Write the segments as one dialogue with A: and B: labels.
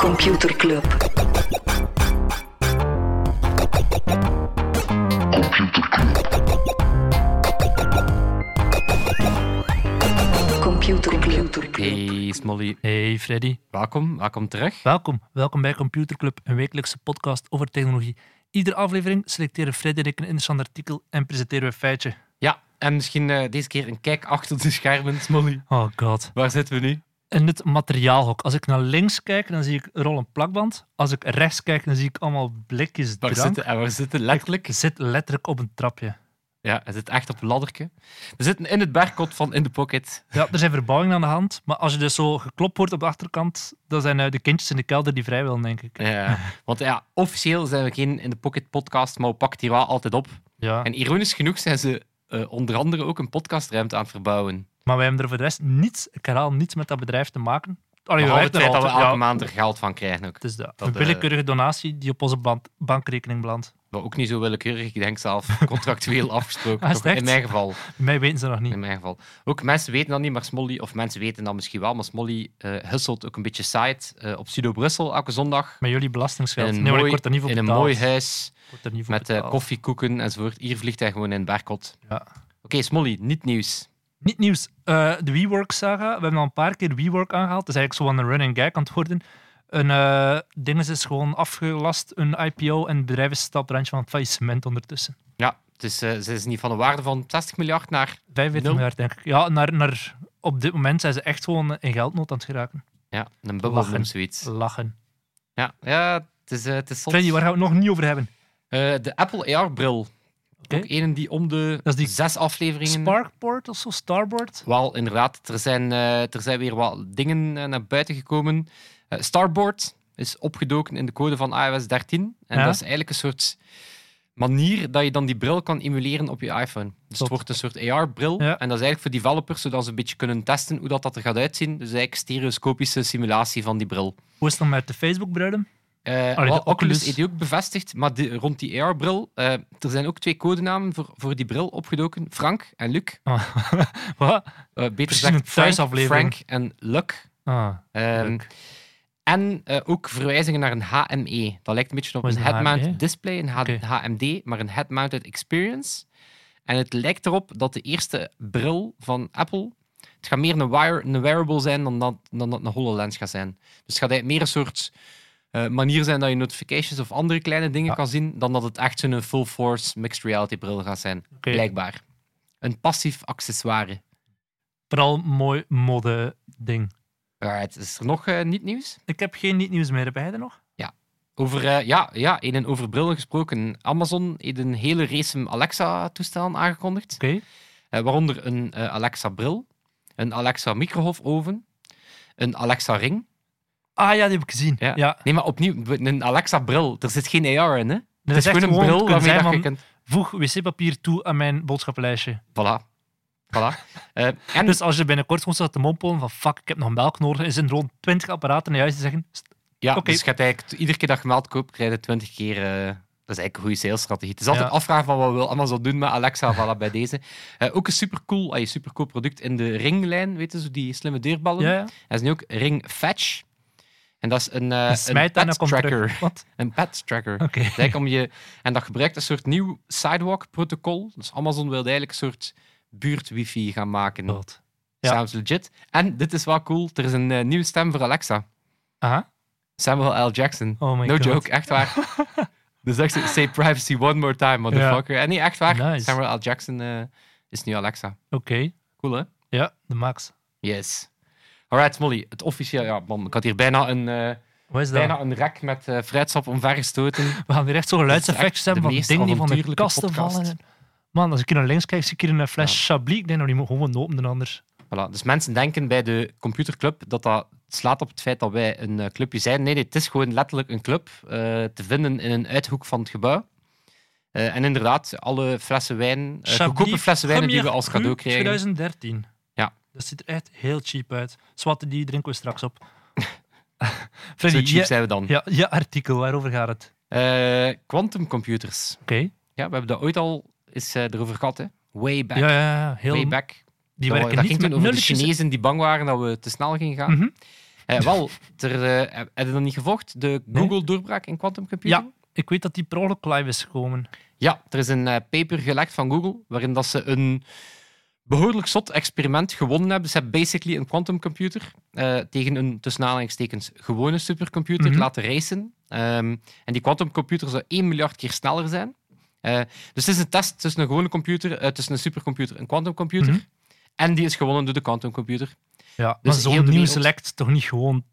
A: Computer Club. Computer Club. Computer Club.
B: Hey Smolly,
C: Hey Freddy,
B: welkom, welkom terug.
C: welkom. Welkom bij Computer Club, een wekelijkse podcast over technologie. Iedere aflevering selecteren Freddy en ik een interessant artikel en presenteren we een feitje.
B: Ja, en misschien eh, deze keer een kijk achter de schermen, Smolly.
C: Oh god.
B: Waar zitten we nu?
C: En het materiaalhok. Als ik naar links kijk, dan zie ik een rollend plakband. Als ik rechts kijk, dan zie ik allemaal blikjes
B: Waar
C: drank.
B: zitten, en waar zitten letterlijk?
C: Ik zit letterlijk op een trapje.
B: Ja, het zit echt op een ladderke. We zitten in het bergkot van In The Pocket.
C: Ja, er zijn verbouwingen aan de hand. Maar als je dus zo geklopt wordt op de achterkant, dan zijn eh, de kindjes in de kelder die vrij willen, denk ik.
B: Ja, eh, want ja, officieel zijn we geen In The Pocket podcast, maar we pakken die wel altijd op.
C: Ja.
B: En ironisch genoeg zijn ze eh, onder andere ook een podcastruimte aan het verbouwen.
C: Maar wij hebben er voor de rest niets, ik herhaal, niets met dat bedrijf te maken. Allee,
B: Behalve het
C: werken er
B: feit dat we
C: altijd-
B: elke
C: ja,
B: maand er geld van krijgen ook.
C: Het is de
B: Dat, eh,
C: willekeurige donatie die op onze band- bankrekening belandt.
B: Maar ook niet zo willekeurig, ik denk zelf contractueel afgesproken.
C: Ah, is
B: toch?
C: het echt?
B: In mijn geval.
C: Mij weten ze nog niet.
B: In mijn geval. Ook mensen weten dat niet, maar Smolly, of mensen weten dat misschien wel, maar Smolly eh hustelt ook een beetje site eh, op Studio Brussel elke zondag.
C: Met jullie belastingsgeld.
B: In een
C: nee, maar ik
B: mooi-
C: word er niet voor
B: In een
C: betaald.
B: mooi huis
C: Ik word er niet voor
B: met eh,
C: betaald.
B: koffiekoeken enzovoort. Hier vliegt hij gewoon in Berkot.
C: Ja.
B: Oké, Smolly, niet nieuws.
C: Niet nieuws. Eh, de WeWork-saga. We hebben al een paar keer WeWork aangehaald. Dat is eigenlijk zo'n een running gag aan het worden. Een eh ding is, is gewoon afgelast, een IPO, en het bedrijf is stapt randje van het faillissement ondertussen.
B: Ja, het is, eh, ze is niet van een waarde van 60 miljard naar.
C: 45
B: Nul.
C: miljard, denk ik. Ja, naar, naar, op dit moment zijn ze echt gewoon in geldnood aan het geraken.
B: Ja, een bubbel
C: Lachen.
B: noemt zoiets.
C: Lachen.
B: Ja, ja het is, eh, het is zot.
C: Freddy, waar gaan we het nog niet over hebben?
B: Eh, de Apple AR-bril.
C: Oké.
B: Ook een die om de
C: Dat is die
B: zes afleveringen.
C: Sparkport of zo? Starboard?
B: Wel, inderdaad, er zijn, eh, er zijn weer wat dingen eh, naar buiten gekomen. Eh, Starboard is opgedoken in de code van iOS 13. En
C: Ja.
B: dat is eigenlijk een soort manier dat je dan die bril kan emuleren op je iPhone. Dus
C: Klopt.
B: het wordt een soort AR-bril.
C: Ja.
B: En dat is eigenlijk voor developers, zodat ze een beetje kunnen testen hoe dat, dat er gaat uitzien. Dus eigenlijk stereoscopische simulatie van die bril.
C: Hoe is het dan met de Facebook-bruiden?
B: Eh,
C: de
B: wel, Oculus
C: Oculus.
B: heeft die ook bevestigd, maar die- rond die AR-bril. eh, er zijn ook twee codenamen voor, voor die bril opgedoken. Frank en Luc.
C: Wat?
B: Eh, beter
C: Precies een
B: gezegd, Frank,
C: thuisaflevering.
B: Frank en Luc.
C: Ah,
B: Ehm,
C: leuk.
B: en eh, ook verwijzingen naar een HME. Dat lijkt een beetje op
C: Wat
B: een
C: is een HME?
B: head-mount display, een H-
C: Oké.
B: HMD, maar een head-mounted experience. En het lijkt erop dat de eerste bril van Apple. Het gaat meer een, wire, een wearable zijn dan dat, dan dat een HoloLens gaat zijn. Dus het gaat eigenlijk meer een soort eh, manier zijn dat je notifications of andere kleine dingen
C: Ja.
B: kan zien, dan dat het echt zo'n full force mixed reality bril gaat zijn.
C: Oké.
B: Blijkbaar. Een passief accessoire.
C: Vooral mooi mode-ding.
B: Alright, is er nog eh, niet nieuws?
C: Ik heb geen niet-nieuws meer. Heb jij er nog?
B: Over, eh, ja, ja, in en over brillen gesproken. Amazon heeft een hele race van Alexa-toestellen aangekondigd.
C: Oké.
B: Eh, waaronder een eh, Alexa-bril, een Alexa-microgolfoven, een Alexa-ring.
C: Ah ja, die heb ik gezien.
B: Ja.
C: Ja.
B: Nee, maar opnieuw, een Alexa-bril. Er zit geen AR in, hè?
C: Dat
B: het is
C: echt
B: gewoon een
C: het
B: bril
C: kunnen
B: waarmee
C: zijn
B: dat je
C: van,
B: kunt...
C: Voeg wc-papier toe aan mijn boodschappenlijstje.
B: Voilà. Voilà. Eh, en
C: Dus als je binnenkort gewoon staat te mompelen van fuck, ik heb nog melk nodig, is er rond 20 apparaten in huis die zeggen... "St,
B: ja,
C: oké.
B: dus je hebt eigenlijk, iedere keer dat je melk koopt, krijg je 20 keer... eh, dat is eigenlijk een goede salesstrategie. Het is altijd
C: Ja.
B: afvragen van wat wil Amazon doen met Alexa, voilà, bij deze. Eh, ook een supercool, ah, supercool product in de ringlijn, weten ze, die slimme deurballen.
C: Ja, ja.
B: Hij is nu ook Ring Fetch. En dat is een, eh,
C: En
B: een
C: smijt en
B: pet
C: dan komt terug.
B: tracker.
C: Wat?
B: Een pet tracker.
C: Oké.
B: Het is eigenlijk om je, en dat gebruikt een soort nieuw sidewalk protocol. Dus Amazon wilde eigenlijk een soort buurt wifi gaan maken.
C: Goed. Oh, ja.
B: Sounds legit. En dit is wel cool. Er is een eh, nieuwe stem voor Alexa.
C: Aha.
B: Samuel L. Jackson.
C: Oh my
B: no
C: god.
B: joke, echt waar. dus echt, zo, say privacy one more time, motherfucker. En nee, echt waar.
C: Nice.
B: Samuel L. Jackson eh, is nu Alexa.
C: Oké.
B: Cool, hè?
C: Ja, de max.
B: Yes. Alright, Molly. Het officieel... Ja, man, ik had hier bijna een... eh,
C: Wat is dat?
B: Bijna een rek met eh fruitsap omvergestoten.
C: We gaan hier echt zo
B: Dat is
C: geluidseffectjes
B: echt de
C: hebben van
B: meest
C: dingen die van de
B: avontuurlijke
C: kasten
B: podcast.
C: vallen. Man, als ik hier naar links kijk, zie ik hier een fles Chablis. Ik denk dat die moet gewoon open dan anders.
B: Voilà. Dus mensen denken bij de computerclub dat dat slaat op het feit dat wij een eh, clubje zijn. Nee, nee, het is gewoon letterlijk een club eh, te vinden in een uithoek van het gebouw. Eh, en inderdaad, alle flessen wijn, eh,
C: Chablis
B: goedkope flessen wijn die we
C: Premier
B: als
C: Cru
B: cadeau krijgen.
C: 2013.
B: Ja.
C: Dat ziet er echt heel cheap uit. Zwat, die drinken we straks op.
B: Zo
C: Freddy,
B: cheap
C: je,
B: zijn we dan.
C: ja, je artikel, waarover gaat het?
B: Eh, Quantumcomputers.
C: Oké.
B: Ja, we hebben dat ooit al eens eh, erover gehad. Hè. Way back.
C: Ja, ja, ja, heel...
B: Way back.
C: Die
B: dat,
C: werken
B: dat
C: niet
B: ging
C: met
B: toen over de
C: nulletjes.
B: Chinezen die bang waren dat we te snel gingen gaan.
C: Mhm.
B: Eh, wel, ter, eh, heb heb je dat niet gevolgd? De Google-doorbraak in quantumcomputing?
C: Ja, ik weet dat die per ongeluk live is gekomen.
B: Ja, er is een eh, paper gelekt van Google waarin dat ze een behoorlijk zot experiment gewonnen hebben. Ze hebben basically een quantumcomputer eh, tegen een tussen aanhalingstekens gewone supercomputer
C: Mhm.
B: laten racen. Ehm, en die quantumcomputer zou 1 miljard keer sneller zijn. Eh, dus het is een test tussen een gewone computer, eh, tussen een supercomputer en een quantumcomputer.
C: Mhm.
B: En die is gewonnen door de quantumcomputer.
C: Ja,
B: Dus
C: maar zo'n
B: heel de
C: nieuw
B: wereld-
C: select toch niet gewoon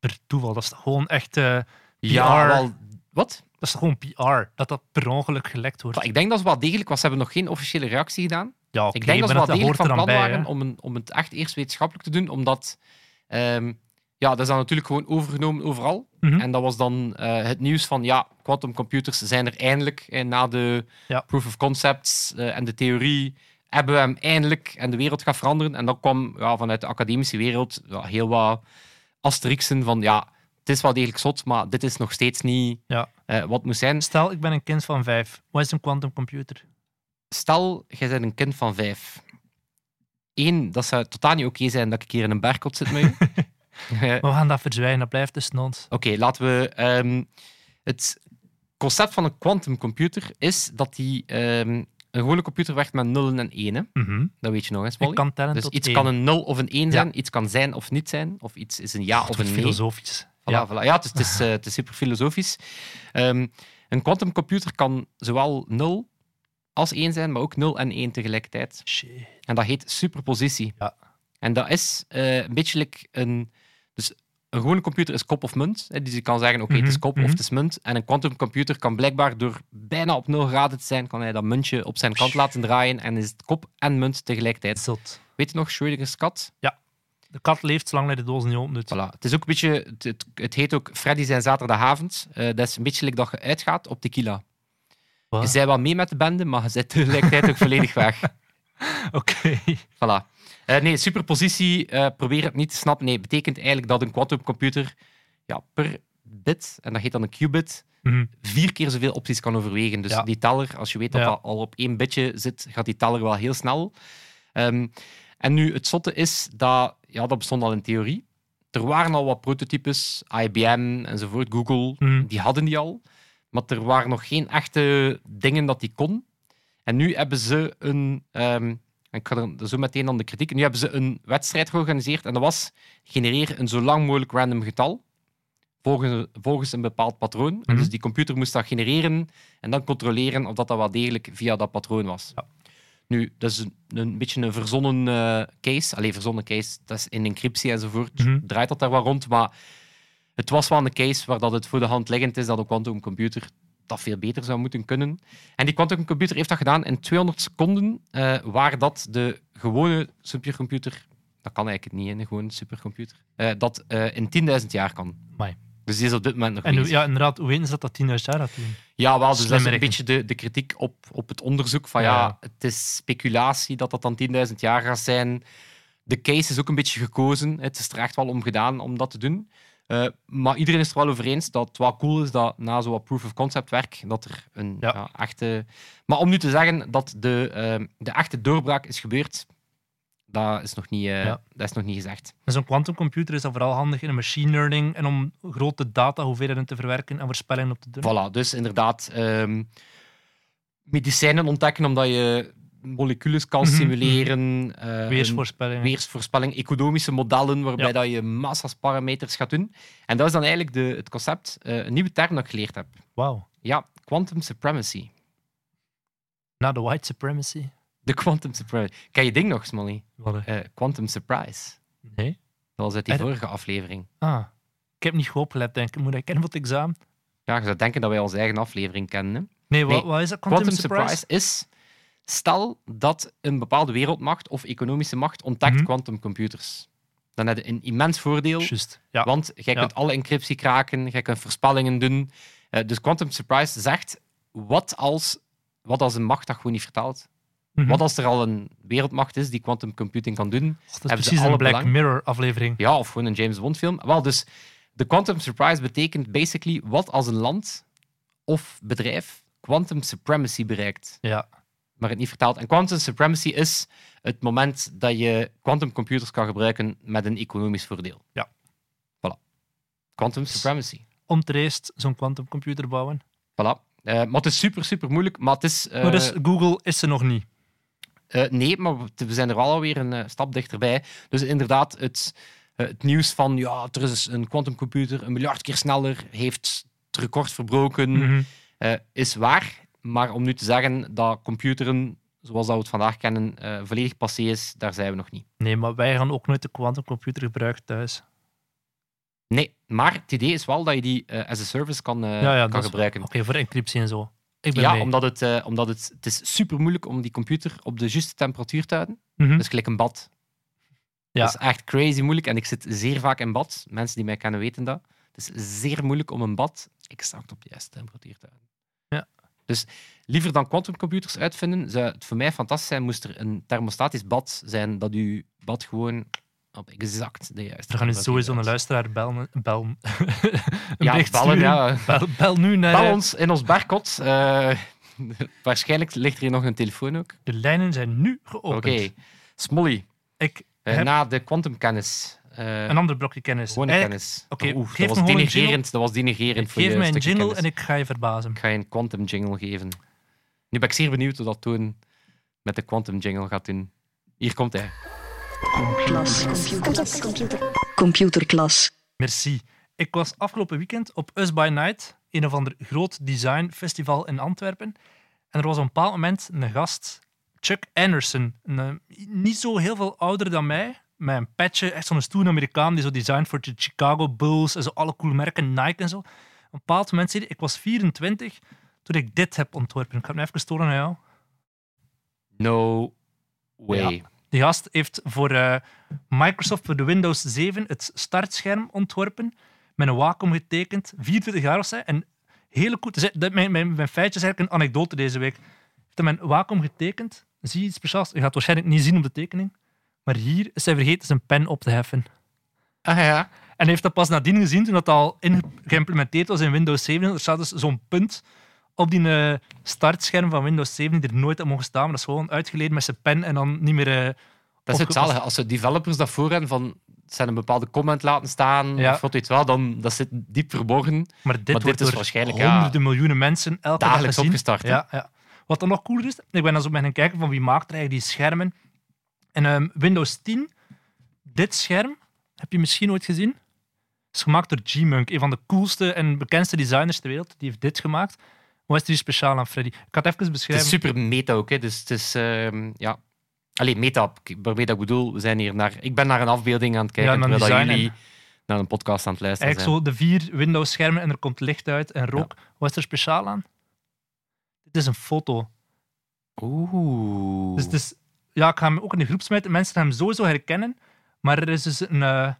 C: per toeval. Dat is toch gewoon echt... eh,
B: Ja,
C: PR.
B: wel. Wat?
C: dat is toch gewoon PR, dat dat per ongeluk gelekt wordt.
B: Maar Ik denk dat ze wel degelijk was. Ze hebben nog geen officiële reactie gedaan.
C: Ja,
B: Ik denk
C: oké,
B: dat
C: maar
B: ze wel
C: hoort
B: degelijk van
C: er
B: plan
C: dan bij,
B: waren
C: hè.
B: om, een, om het echt eerst wetenschappelijk te doen, omdat ehm, ja, dat is dan natuurlijk gewoon overgenomen overal.
C: Mhm.
B: En dat was dan eh, het nieuws van ja, quantumcomputers zijn er eindelijk. En na de
C: Ja.
B: proof of concepts eh, en de theorie hebben we hem eindelijk en de wereld gaat veranderen. En dan kwam ja, vanuit de academische wereld ja, heel wat asterixen van ja, het is wel degelijk zot, maar dit is nog steeds niet
C: Ja.
B: eh, wat het moet zijn.
C: Stel, ik ben een kind van vijf. Wat is een quantumcomputer?
B: stel, jij bent een kind van vijf. Eén, dat zou totaal niet oké zijn dat ik hier in een bergkot zit met u. Eh, Oké,
C: Maar We gaan dat verzwijgen, dat blijft dus tussen ons.
B: laten we... ehm, het concept van een quantumcomputer is dat die... ehm, een gewone computer werkt met nullen en enen.
C: Mhm.
B: Dat weet je nog eens,
C: Ik kan tellen
B: Dus
C: tot
B: iets
C: één.
B: kan een nul of een één
C: Ja.
B: zijn, iets kan zijn of niet zijn, of iets is een ja
C: Dat
B: of
C: wordt
B: een nee.
C: filosofisch.
B: Voilà, voilà. Ja, het is, het is, eh, het is super filosofisch. Ehm, een quantumcomputer kan zowel 0 als 1 zijn, maar ook 0 en 1 tegelijkertijd.
C: Shit.
B: En dat heet superpositie.
C: Ja.
B: En dat is eh, een beetje like een... Dus een gewone computer is kop of munt. Hè, dus je kan zeggen, oké, het is
C: Mhm,
B: kop
C: mhm.
B: of het is munt. En een quantumcomputer kan blijkbaar door bijna op nul graden te zijn, kan hij dat muntje op zijn kant laten draaien en is het kop en munt tegelijkertijd.
C: Zot.
B: Weet je nog, Schrödinger's kat?
C: De kat leeft zolang hij de doos niet opent.
B: Voilà. Het is ook een beetje... Het, het, het heet ook Freddy zijn zaterdagavond. Eh, dat is een beetje like dat je uitgaat op tequila.
C: Wat?
B: Je bent wel mee met de bende, maar je zit tegelijkertijd ook volledig weg.
C: Oké.
B: Voilà. Eh, nee, superpositie, eh, probeer het niet te snappen. Nee, betekent eigenlijk dat een quantumcomputer ja, per bit, en dat heet dan een qubit,
C: Mhm.
B: vier keer zoveel opties kan overwegen. Dus
C: Ja.
B: die teller, als je weet dat
C: Ja.
B: dat al op één bitje zit, gaat die teller wel heel snel. Ehm, en nu, het zotte is dat, ja, dat bestond al in theorie. Er waren al wat prototypes, IBM enzovoort, Google,
C: Mhm.
B: die hadden die al. Maar er waren nog geen echte dingen dat die kon. En nu hebben ze een. ehm, ik ga er zo meteen aan de kritiek. Nu hebben ze een wedstrijd georganiseerd. En dat was: genereer een zo lang mogelijk random getal. Volgens, volgens een bepaald patroon. En
C: Mhm.
B: Dus die computer moest dat genereren. En dan controleren of dat, dat wel degelijk via dat patroon was.
C: Ja.
B: Nu, dat is een, een beetje een verzonnen eh, case. Alleen verzonnen case, dat is in encryptie enzovoort.
C: Mhm.
B: Draait dat daar wel rond. Maar het was wel een case waar dat het voor de hand liggend is dat een quantumcomputer dat veel beter zou moeten kunnen. En die quantumcomputer heeft dat gedaan in 200 seconden, eh, waar dat de gewone supercomputer, dat kan eigenlijk niet in een gewone supercomputer, eh, dat eh, in 10.000 jaar kan.
C: Amai.
B: Dus die is op dit moment nog
C: En hoe-
B: bezig.
C: ja, inderdaad, hoe weten ze dat dat 10.000 jaar had doen?
B: Ja, wel, dus dat is
C: Slimme
B: een beetje
C: rekening.
B: de, de kritiek op, op het onderzoek. Van ja.
C: Ja.
B: het is speculatie dat dat dan 10.000 jaar gaat zijn. De case is ook een beetje gekozen. Het is er echt wel om gedaan om dat te doen. Eh, maar iedereen is er wel over eens dat het wel cool is dat na zo'n proof of concept werk, dat er een
C: Ja.
B: ja, echte. Maar om nu te zeggen dat de, eh, de echte doorbraak is gebeurd, dat is nog niet, eh,
C: Ja.
B: dat is nog niet gezegd.
C: En zo'n quantumcomputer is dan vooral handig in de machine learning en om grote data hoeveelheden te verwerken en voorspellingen op te doen.
B: Voilà, dus inderdaad, ehm, medicijnen ontdekken omdat je moleculen kan
C: Mhm,
B: simuleren, eh, een
C: Weersvoorspellingen.
B: weersvoorspelling, economische modellen waarbij
C: Ja.
B: dat je massa's parameters gaat doen. En dat is dan eigenlijk de, het concept, eh, een nieuwe term dat ik geleerd heb.
C: Wauw.
B: Ja, quantum supremacy.
C: Na de white supremacy.
B: De quantum supremacy. Ken je ding nog, Smolly?
C: Wat een-
B: Eh, quantum surprise.
C: Nee.
B: Dat was uit die
C: En-
B: vorige aflevering.
C: Ah. Ik heb niet goed opgelet, denk ik. Moet ik kennen voor het examen?
B: Ja, je zou denken dat wij onze eigen aflevering kennen. hè?
C: Nee, wa-
B: Nee.
C: wat, is dat? Quantum,
B: Quantum
C: surprise?
B: surprise is. Stel dat een bepaalde wereldmacht of economische macht ontdekt
C: Mhm.
B: quantumcomputers. Dan heb je een immens voordeel,
C: Juist. Ja.
B: want jij
C: Ja.
B: kunt alle encryptie kraken, jij kunt voorspellingen doen. Eh, dus Quantum Surprise zegt, wat als, wat als een macht dat gewoon niet vertaalt?
C: Mhm.
B: Wat als er al een wereldmacht is die quantum computing kan doen?
C: Och, dat is
B: hebben ze
C: precies een
B: alle
C: Black
B: belang?
C: Mirror aflevering.
B: Ja, of gewoon een James Bond film. Wel, dus de Quantum Surprise betekent basically wat als een land of bedrijf quantum supremacy bereikt
C: Ja.
B: maar het niet vertaald. En quantum supremacy is het moment dat je quantumcomputers kan gebruiken met een economisch voordeel.
C: Ja. Dus-
B: Voilà. Quantum Supremacy.
C: ontereest zo'n quantumcomputer bouwen.
B: Voilà. Eh, maar het is super, super moeilijk. Maar het is, eh,
C: maar dus Google is er nog niet.
B: eh, nee, maar we we zijn er wel alweer een eh, stap dichterbij. Dus inderdaad, het, eh, het nieuws van ja, er is een quantumcomputer een miljard keer sneller, heeft het record verbroken,
C: Mhm.
B: eh, is waar. Maar om nu te zeggen dat computeren, zoals dat we het vandaag kennen, eh, volledig passé is, daar zijn we nog niet.
C: Nee, maar wij gaan ook nooit de quantumcomputer gebruiken thuis.
B: Nee, maar het idee is wel dat je die eh, as a service kan, eh,
C: ja, dat
B: kan
C: is-
B: gebruiken.
C: Oké, voor encryptie en zo. Ik ben
B: Ja,
C: mee.
B: omdat, het, eh, omdat het, het is super moeilijk om die computer op de juiste temperatuur te houden.
C: Mhm.
B: Dus gelijk een bad.
C: Ja.
B: Dat is echt crazy moeilijk. En ik zit zeer vaak in bad. Mensen die mij kennen weten dat. Het is zeer moeilijk om een bad exact op de juiste temperatuur te houden.
C: Ja.
B: Dus liever dan quantumcomputers uitvinden, zou het voor mij fantastisch zijn moest er een thermostatisch bad zijn dat uw bad gewoon op exact de juiste
C: Er gaan nu sowieso een
B: temperatuur
C: luisteraar bellen. bellen. een
B: is.
C: bericht
B: Ja, bellen,
C: sturen.
B: ja.
C: Bel, bel nu naar... eh,
B: Bel ons in ons barcode. Eh, waarschijnlijk ligt er hier nog een telefoon ook.
C: De lijnen zijn nu
B: Oké.
C: geopend.
B: Smolly,
C: Ik
B: eh,
C: heb
B: na de quantumkennis. eh
C: een ander blokje kennis. Eh,
B: gewone
C: Eigenlijk-
B: kennis.
C: oké,
B: Oh, oef, dat,
C: geef me
B: was
C: gewoon een
B: denigrerend, dat was denigrerend voor
C: Geef
B: je
C: mij een
B: stukje
C: jingle
B: kennis.
C: en ik ga je verbazen.
B: Ik ga je een quantum jingle geven. Nu ben ik zeer benieuwd hoe dat toen met de quantum jingle gaat doen. Hier komt hij.
A: Klas. Computerklas.
C: Merci. Ik was afgelopen weekend op Us by Night, een of ander groot designfestival in Antwerpen. En er was op een bepaald moment een gast, Chuck Anderson. Een, eh, niet zo heel veel ouder dan mij, met een petje, echt zo'n stoere Amerikaan die zo designt voor de Chicago Bulls en zo alle coole merken, Nike en zo. Op een bepaald moment zei hij, ik was 24 toen ik dit heb ontworpen. Ik ga hem even storen aan jou.
B: No way.
C: Die gast heeft voor eh, Microsoft, voor de Windows 7, het startscherm ontworpen. Met een Wacom getekend. 24 jaar of zij. En hele cool. Dus, dat, mijn, mijn, mijn feitje is eigenlijk een anekdote deze week. Hij heeft mijn Wacom getekend. Zie je iets speciaals? Je gaat het waarschijnlijk niet zien op de tekening. Maar hier is hij vergeten zijn pen op te heffen.
B: Ah ja.
C: En hij heeft dat pas nadien gezien toen dat al inge- geïmplementeerd was in Windows 7. Er staat dus zo'n punt op die eh, startscherm van Windows 7 die er nooit had mogen staan. Maar dat is gewoon uitgeleerd met zijn pen en dan niet meer... eh,
B: Dat is het
C: opgepast.
B: zalige. Als de developers dat voor hebben van ze hebben een bepaalde comment laten staan
C: Ja.
B: of wat weet wel, dan dat zit diep verborgen.
C: Maar dit
B: Maar dit
C: wordt
B: is
C: door
B: waarschijnlijk, ja,
C: honderden miljoenen mensen elke dag
B: Dagelijks
C: gezien.
B: opgestart. hè.
C: Ja, ja. Wat dan nog cooler is, ik ben dan zo bij gaan kijken van wie maakt er eigenlijk die schermen. En ehm, Windows 10, dit scherm, heb je misschien ooit gezien? is gemaakt door G-Munk, een van de coolste en bekendste designers ter wereld. Die heeft dit gemaakt. Wat is er hier speciaal aan, Freddy? Ik ga het even
B: Het
C: beschrijven.
B: is super meta ook, hè. dus het is... ehm, ja. Allee, meta, ik- waarmee dat ik bedoel, we zijn hier naar... Ik ben naar een afbeelding aan het kijken,
C: Ja, naar
B: terwijl dat
C: design en-
B: jullie naar een podcast aan het luisteren
C: Eigenlijk zo de vier Windows-schermen en er komt licht uit en rook. Wat is er speciaal aan? Dit is een foto.
B: zijn. Oeh.
C: Dus het is, ja, ik ga hem ook in de groep smijten. Mensen gaan hem sowieso herkennen. Maar er is dus een, eh,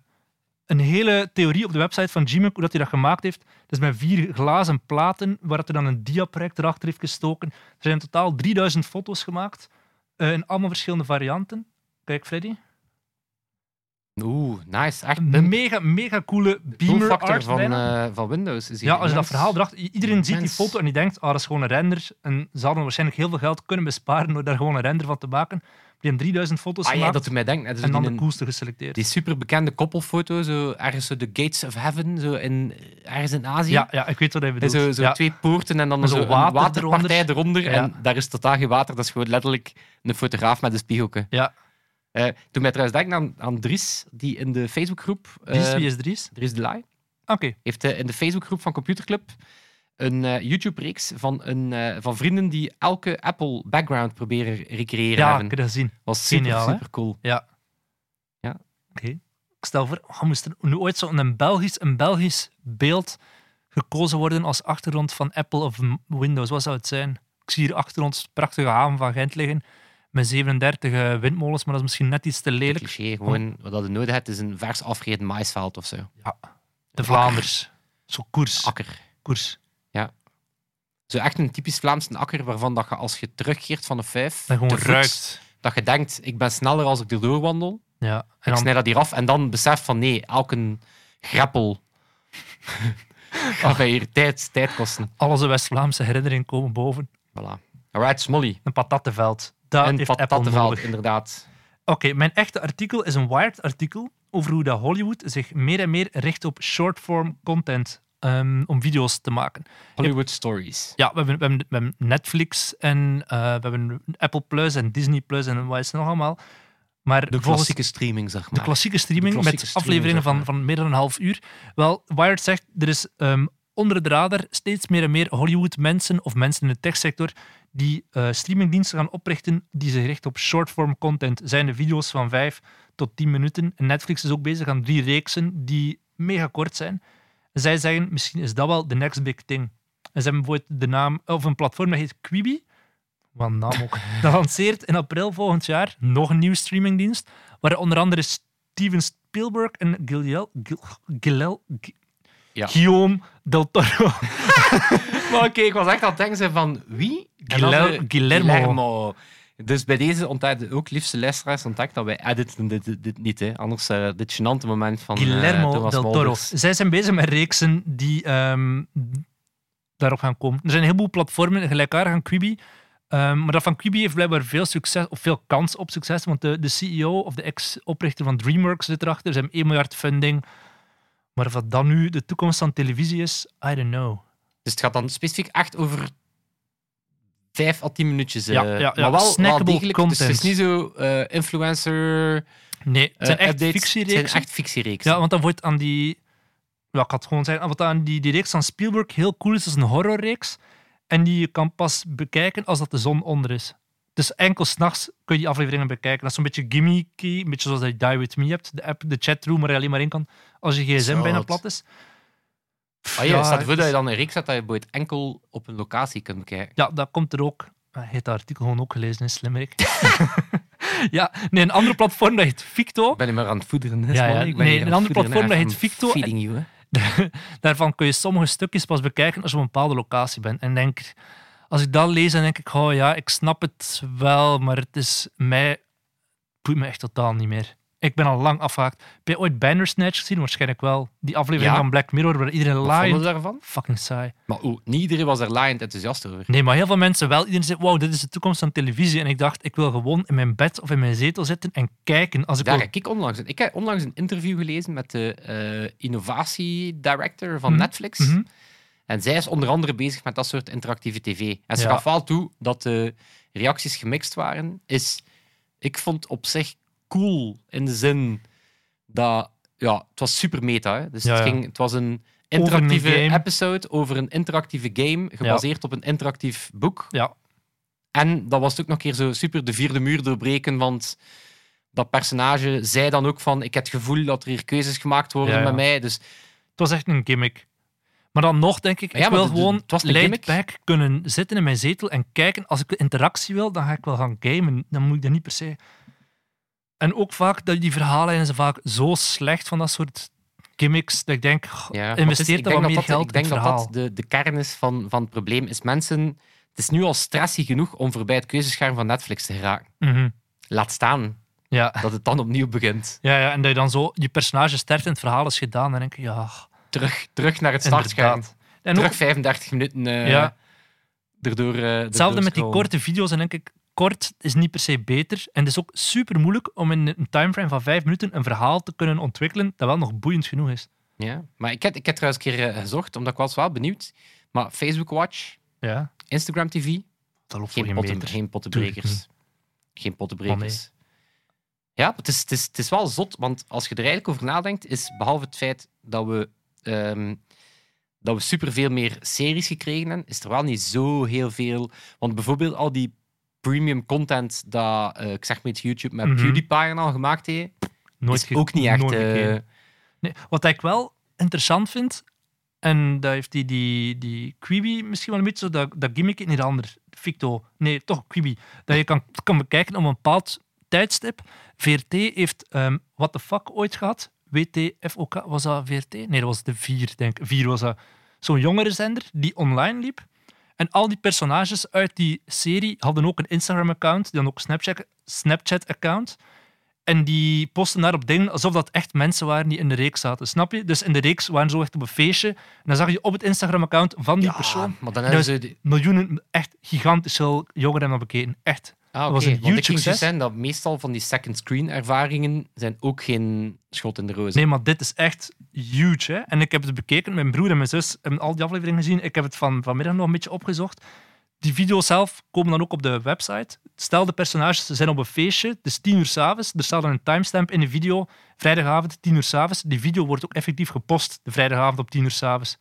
C: een hele theorie op de website van Gmail hoe dat hij dat gemaakt heeft. Het is met vier glazen platen waar dat er dan een diaproject erachter heeft gestoken. Er zijn in totaal 3000 foto's gemaakt eh, in allemaal verschillende varianten. Kijk, Freddy.
B: Oeh, nice. Echt
C: Een
B: een
C: mega, mega coole beamer
B: toolfactor
C: art.
B: van,
C: bijna.
B: eh, van Windows. Is hier
C: Ja, als je dat
B: immens.
C: verhaal draagt, i- iedereen ziet die
B: Immens.
C: foto en die denkt, ah, dat is gewoon een render. En ze hadden waarschijnlijk heel veel geld kunnen besparen door daar gewoon een render van te maken. Die hebben 3000 foto's
B: Ah ja,
C: gemaakt
B: dat doet mij denken. hè, dus
C: en dan
B: die,
C: de coolste geselecteerd.
B: die superbekende koppelfoto, zo ergens zo de Gates of Heaven, zo in, ergens in Azië.
C: Ja, ja, ik weet wat hij
B: En
C: bedoelt.
B: zo zo
C: ja.
B: twee poorten en dan
C: Met
B: zo
C: zo'n
B: een
C: water
B: waterpartij
C: eronder.
B: eronder.
C: Ja.
B: En daar is totaal geen water. Dat is gewoon letterlijk een fotograaf met een spiegelke.
C: Ja.
B: Eh, toen mij trouwens denken aan, aan Dries, die in de Facebookgroep... eh,
C: Dries, wie is Dries? Ah,
B: Dries de Laai
C: Oké.
B: heeft eh, in de Facebookgroep van Computerclub een eh, YouTube-reeks van, een, eh, van vrienden die elke Apple-background proberen recreëren.
C: Ja, ik
B: hebben.
C: heb dat gezien.
B: was super,
C: geniaal, hè?
B: super cool.
C: Oké. Ik stel voor, oh, moest er nu ooit zo'n Belgisch, een Belgisch beeld gekozen worden als achtergrond van Apple of M- Windows? Wat zou het zijn? Ik zie hier achter ons de prachtige haven van Gent liggen met 37 windmolens, maar dat is misschien net iets te
B: Een
C: lelijk.
B: cliché, gewoon
C: Hm.
B: wat dat je nodig hebt is een vers afgereden maisveld of zo.
C: De Vlaanders. Zo koers.
B: Akker.
C: koers.
B: Zo echt een typisch Vlaamse akker waarvan dat je als je terugkeert van een vijf,
C: Dat gewoon
B: te voet,
C: ruikt.
B: dat je denkt, ik ben sneller als ik erdoor wandel.
C: Ja. En
B: Ik
C: dan
B: snij dat hier af en dan besef van nee, elke greppel gaat mij hier tijd, tijd kosten.
C: alle West-Vlaamse herinneringen komen boven.
B: Voilà. Alright, Smolly.
C: Een patattenveld. Dat
B: Een
C: heeft Apple
B: patattenveld,
C: nodig.
B: inderdaad.
C: Oké, mijn echte artikel is een Wired artikel. over hoe dat Hollywood zich meer en meer richt op short-form content ehm, om video's te maken.
B: Hollywood Stories.
C: Ja, we hebben, we hebben, we hebben Netflix en eh, we hebben Apple Plus en Disney Plus en wat is het nog allemaal. Maar
B: De
C: volgens
B: klassieke streaming, zeg
C: de
B: maar.
C: klassieke streaming
B: De klassieke
C: met
B: streaming,
C: afleveringen
B: zeg maar.
C: van, van meer dan een half uur. Wel, Wired zegt, er is ehm, onder de radar steeds meer en meer Hollywood-mensen of mensen in de techsector die eh, streamingdiensten gaan oprichten die zich richten op short-form content. Zijn de video's van 5 tot 10 minuten. En Netflix is ook bezig aan drie reeksen die mega kort zijn. En zij zeggen, misschien is dat wel de next big thing. En ze hebben bijvoorbeeld de naam, of een platform dat heet Quibi. Wat een naam ook. Dat lanceert in april volgend jaar nog een nieuwe streamingdienst. Waar onder andere Steven Spielberg en Guillermo, Guillermo,
B: Ja. eh,
C: Guillaume del Toro.
B: Maar oké, ik was echt aan het denken zijn van wie? En
C: Guilher-
B: dan, eh,
C: Guillermo.
B: Dus bij deze ontdekt ook liefste luisteraars ontdekt dat wij editen dit, dit, dit niet. Hè. Anders eh, dit gênante moment van eh,
C: Guillermo
B: Thomas
C: del Toro.
B: Mulder.
C: Zij zijn bezig met reeksen die ehm, daarop gaan komen. Er zijn een heleboel platformen gelijkaardig aan Quibi. Ehm, maar dat van Quibi heeft blijkbaar veel succes, of veel kans op succes. Want de, de CEO of de ex-oprichter van DreamWorks zit erachter. Ze hebben 1 miljard funding. Maar of dat dan nu de toekomst van televisie is, I don't know.
B: Dus het gaat dan specifiek echt over vijf à tien minuutjes. eh,
C: Ja, ja, ja.
B: Maar wel, wel
C: Snackable
B: degelijk. Dus het is
C: content.
B: niet zo eh, influencer
C: Nee, het zijn
B: eh,
C: echt
B: updates. Het zijn
C: fictiereeksen.
B: echt Ah, fictiereeksen.
C: Ja, want dan wordt aan die. Ja, ik had gewoon zeggen. Wat aan die, die reeks van Spielberg heel cool is, is een horrorreeks. En die je kan pas bekijken als dat de zon onder is. Dus enkel s'nachts kun je die afleveringen bekijken. Dat is zo'n beetje gimmicky, een beetje zoals dat je Die With Me hebt. De app, de chatroom waar je alleen maar in kan als je gsm
B: Zot.
C: bijna plat is. Pff,
B: Ah, ja, staat
C: het
B: voor
C: is-
B: dat je dan een reeks hebt dat je bijvoorbeeld enkel op een locatie kunt bekijken.
C: ja, dat komt er ook. Ah, Hij heeft dat artikel gewoon ook gelezen in Slimmerik. ja, nee, een andere platform dat heet Victo.
B: Ik ben niet meer aan het voederen. hè,
C: Ja, ja.
B: man. Ik ben hier
C: Nee,
B: aan
C: een
B: het
C: ander
B: voederen,
C: platform, dat
B: echt
C: heet
B: een
C: Victo.
B: Feeding you, hè.
C: daarvan kun je sommige stukjes pas bekijken als je op een bepaalde locatie bent. En denk, ik- als ik dat lees, dan denk ik, oh ja, ik snap het wel, maar het is mij, het boeit me echt totaal niet meer. Ik ben al lang afgehaakt. Heb je ooit Bandersnatch gezien? Waarschijnlijk wel. Die aflevering
B: Ja.
C: van Black Mirror, waar iedereen
B: Wat vonden
C: laait.
B: we daarvan?
C: Fucking saai.
B: Maar oeh, niet iedereen was er laaiend enthousiast over.
C: Nee, maar heel veel mensen wel. Iedereen zei, wow, dit is de toekomst van televisie. En ik dacht, ik wil gewoon in mijn bed of in mijn zetel zitten en kijken. Als ik
B: Daar
C: wil-
B: heb ik onlangs, ik heb onlangs een interview gelezen met de eh innovatie-director van
C: Mhm,
B: Netflix.
C: Mhm.
B: En zij is onder andere bezig met dat soort interactieve tv. En ze
C: Ja.
B: gaf wel toe dat de reacties gemixt waren. Is, ik vond op zich cool in de zin dat... Ja, het was super meta. Hè? Dus
C: Ja,
B: het,
C: ja.
B: ging, het was een
C: een
B: interactieve
C: game.
B: episode over een interactieve game, gebaseerd op een interactief boek.
C: Ja.
B: En dat was het ook nog een keer zo super de vierde muur doorbreken, want dat personage zei dan ook van ik heb het gevoel dat er hier keuzes gemaakt worden
C: Ja, ja.
B: met mij. Dus
C: Het was echt een gimmick. Maar dan nog denk ik,
B: Ja,
C: ik
B: maar
C: wil
B: het-
C: gewoon
B: het was een
C: laid
B: gimmick.
C: back kunnen zitten in mijn zetel en kijken. Als ik interactie wil, dan ga ik wel gaan gamen. Dan moet ik dat niet per se... En ook vaak, dat die verhalen zijn vaak zo slecht van dat soort gimmicks, dat ik denk, goh,
B: ja, maar het is-
C: investeer
B: ik
C: dan
B: denk
C: wat
B: dat
C: meer
B: dat-
C: geld
B: Ik denk
C: in het
B: dat
C: verhaal.
B: dat de, de kern is van, van het probleem. Is mensen, het is nu al stressy genoeg om voorbij het keuzescherm van Netflix te geraken.
C: Mhm.
B: Laat staan
C: ja.
B: dat het dan opnieuw begint.
C: Ja, ja, en dat je dan zo, je personage sterft en het verhaal is gedaan. Dan denk ik, ja,
B: Terug, terug naar het startscherm.
C: inderdaad. En ook
B: Terug 35 minuten eh,
C: Ja.
B: erdoor. eh,
C: Hetzelfde
B: erdoor
C: met die
B: scrollen.
C: korte video's. En denk ik, kort is niet per se beter. En het is ook super moeilijk om in een timeframe van vijf minuten een verhaal te kunnen ontwikkelen dat wel nog boeiend genoeg is.
B: Ja, maar ik heb, ik heb trouwens een keer eh, gezocht, omdat ik was wel benieuwd. Maar Facebook Watch,
C: Ja,
B: Instagram TV,
C: dat loopt
B: geen,
C: voor
B: potten,
C: meter.
B: geen pottenbrekers.
C: Oh,
B: Geen pottenbrekers. Ja, het is, het, is, het is wel zot, want als je er eigenlijk over nadenkt, is behalve het feit dat we, ehm dat we superveel meer series gekregen hebben, is er wel niet zo heel veel. Want bijvoorbeeld al die premium content dat, eh, ik zeg maar iets, YouTube met
C: Mhm.
B: PewDiePie en al gemaakt heeft,
C: Nooit
B: is
C: ge-
B: ook niet echt...
C: nooit
B: eh,
C: gekeken. Nee, wat ik wel interessant vind, en daar heeft die, die, die Quibi misschien wel een beetje zo, dat, dat gimmick in een ander. Ficto. Nee, toch Quibi. Dat je kan, kan bekijken op een bepaald tijdstip. VRT heeft ehm What the Fuck ooit gehad. WTFOK, was dat VRT? Nee, dat was de 4, denk ik. 4 was dat. Zo'n jongere zender die online liep. En al die personages uit die serie hadden ook een Instagram-account, die dan ook Snapchat- Snapchat-account. En die posten daarop dingen alsof dat echt mensen waren die in de reeks zaten. Snap je? Dus in de reeks waren ze zo echt op een feestje. En dan zag je op het Instagram-account van die
B: ja,
C: persoon
B: Ah, maar dan hebben
C: is-
B: ze... de-
C: miljoenen, echt gigantisch veel jongeren hebben bekeken. Echt.
B: Ah, Ah,
C: was
B: oké.
C: een
B: Want
C: huge
B: ik ging zo
C: succes.
B: zeggen dat meestal van die second screen ervaringen zijn ook geen schot in de roos.
C: Nee, maar dit is echt huge. Hè? En ik heb het bekeken. Mijn broer en mijn zus hebben al die afleveringen gezien. Ik heb het van, vanmiddag nog een beetje opgezocht. Die video's zelf komen dan ook op de website. Stel, de personages ze zijn op een feestje. Het is tien uur s'avonds. Er staat dan een timestamp in de video. Vrijdagavond, tien uur s'avonds. Die video wordt ook effectief gepost. De vrijdagavond op tien uur s'avonds.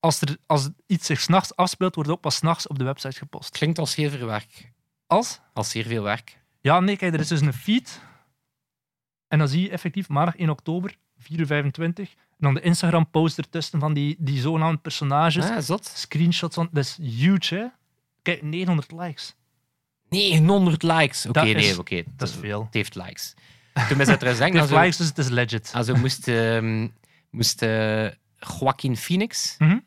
C: Als, er, als iets zich s'nachts afspeelt, wordt het ook pas s'nachts op de website gepost.
B: Klinkt als zeer veel werk.
C: Als
B: Als zeer veel werk.
C: ja, nee, kijk, er is dus een feed. En dan zie je effectief maandag 1 oktober, 4 uur 25. En dan de Instagram-post ertussen van die, die zogenaamde personages.
B: Ah, zot.
C: Screenshots, van, dat is huge, hè? Kijk, 900 likes.
B: 900 likes. Oké,
C: Dat
B: nee,
C: is-
B: oké.
C: Dat is
B: het-
C: veel.
B: Het heeft likes. Toen is het er eens denk,
C: 900
B: dan zo- Ah,
C: likes, dus het is legit.
B: Also moest, ehm, moest eh, Joaquin Phoenix,
C: Mhm.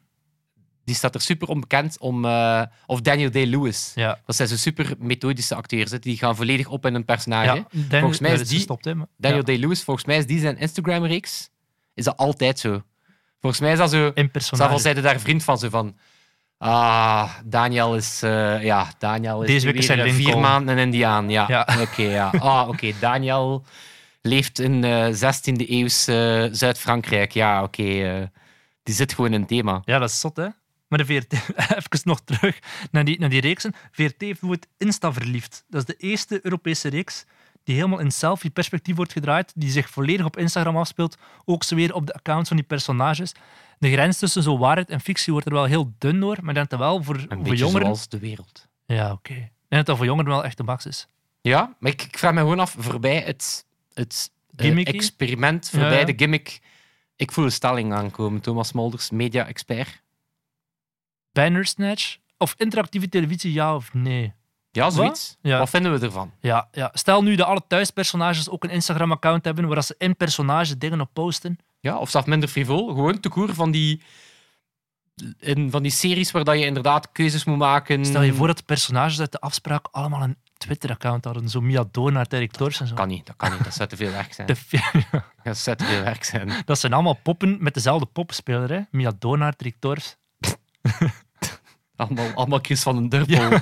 B: die staat er super onbekend om, eh, of Daniel Day-Lewis.
C: Ja.
B: Dat zijn zo super methodische acteurs, hè. die gaan volledig op in hun
C: ja.
B: personage.
C: Dan-
B: Volgens mij
C: dat
B: is die-
C: gestopt, hè? maar-
B: Daniel
C: ja.
B: Day-Lewis, volgens mij is die zijn Instagram-reeks, is dat altijd zo. Volgens mij is dat zo,
C: In
B: zelfs al
C: personage.
B: zeiden daar vriend van, zo van, ah, Daniel is, eh, ja, Daniel is
C: Deze week is
B: weer,
C: hij
B: eh, vier
C: Lincoln.
B: maanden een indiaan, ja.
C: Ja.
B: Oké, ja. Ah, oké, Daniel leeft in eh 16e eeuws eh, Zuid-Frankrijk, ja, oké. eh, die zit gewoon in het thema.
C: Ja, dat is zot, hè? Maar de VRT, even nog terug naar die, naar die reeksen. VRT heeft het Insta verliefd. Dat is de eerste Europese reeks die helemaal in selfie-perspectief wordt gedraaid, die zich volledig op Instagram afspeelt, ook zo weer op de accounts van die personages. De grens tussen zo waarheid en fictie wordt er wel heel dun door, maar ik denk dat wel voor,
B: Een
C: voor
B: beetje
C: jongeren...
B: zoals de wereld.
C: Ja, oké. Ik denk dat dat voor jongeren wel echt de max is.
B: Ja, maar ik, ik vraag me gewoon af, voorbij het, het eh,
C: Gimmicky?
B: experiment,
C: Ja,
B: voorbij
C: ja.
B: de gimmick. Ik voel een stelling aankomen, Thomas Molders, media-expert.
C: Bandersnatch? Of interactieve televisie, ja of nee?
B: Ja, zoiets.
C: Ja.
B: Wat vinden we ervan?
C: Ja, ja. Stel nu dat alle thuispersonages ook een Instagram-account hebben waar ze in personage dingen op posten.
B: Ja, of zelfs minder frivol. Gewoon te koer van die, in, van die series waar dat je inderdaad keuzes moet maken.
C: Stel je voor dat de personages uit de afspraak allemaal een Twitter-account hadden. Zo Mia Doornaert, Erik Tors en zo.
B: Dat kan niet, dat kan niet. Dat zou te veel werk zijn.
C: De fi-
B: Dat zou te veel werk zijn.
C: dat zijn allemaal poppen met dezelfde poppenspeler. Hè? Mia Doornaert, Erik Tors.
B: Allemaal, allemaal Chris van den Durpel.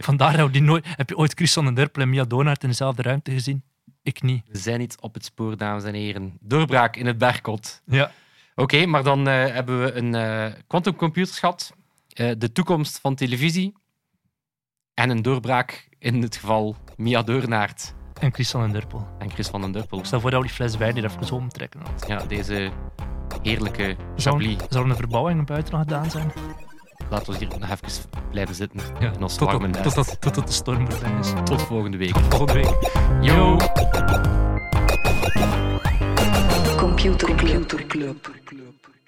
C: Vandaar dat we die nooit... Heb je ooit Chris van den Durpel en Mia Doornaert in dezelfde ruimte gezien? Ik niet.
B: We zijn iets op het spoor, dames en heren. Doorbraak in het bergkot.
C: Ja.
B: Oké, maar dan eh, hebben we een eh quantumcomputers gehad, eh, de toekomst van televisie en een doorbraak in het geval Mia Deurnaert
C: En Chris van den Durpel.
B: en Chris van den Durpel.
C: Stel voor dat we die fles wijn hier even omtrekken. want
B: Ja, deze heerlijke
C: Zou,
B: Chablis.
C: zou er een verbouwing buiten nog gedaan zijn?
B: Laten we hier nog even blijven zitten
C: Ja,
B: in ons
C: totdat
B: fragment.
C: tot, tot, tot de storm voorbij is.
B: Tot volgende week.
C: Volgende week.
B: Yo!
A: Computer Club. Computer Club.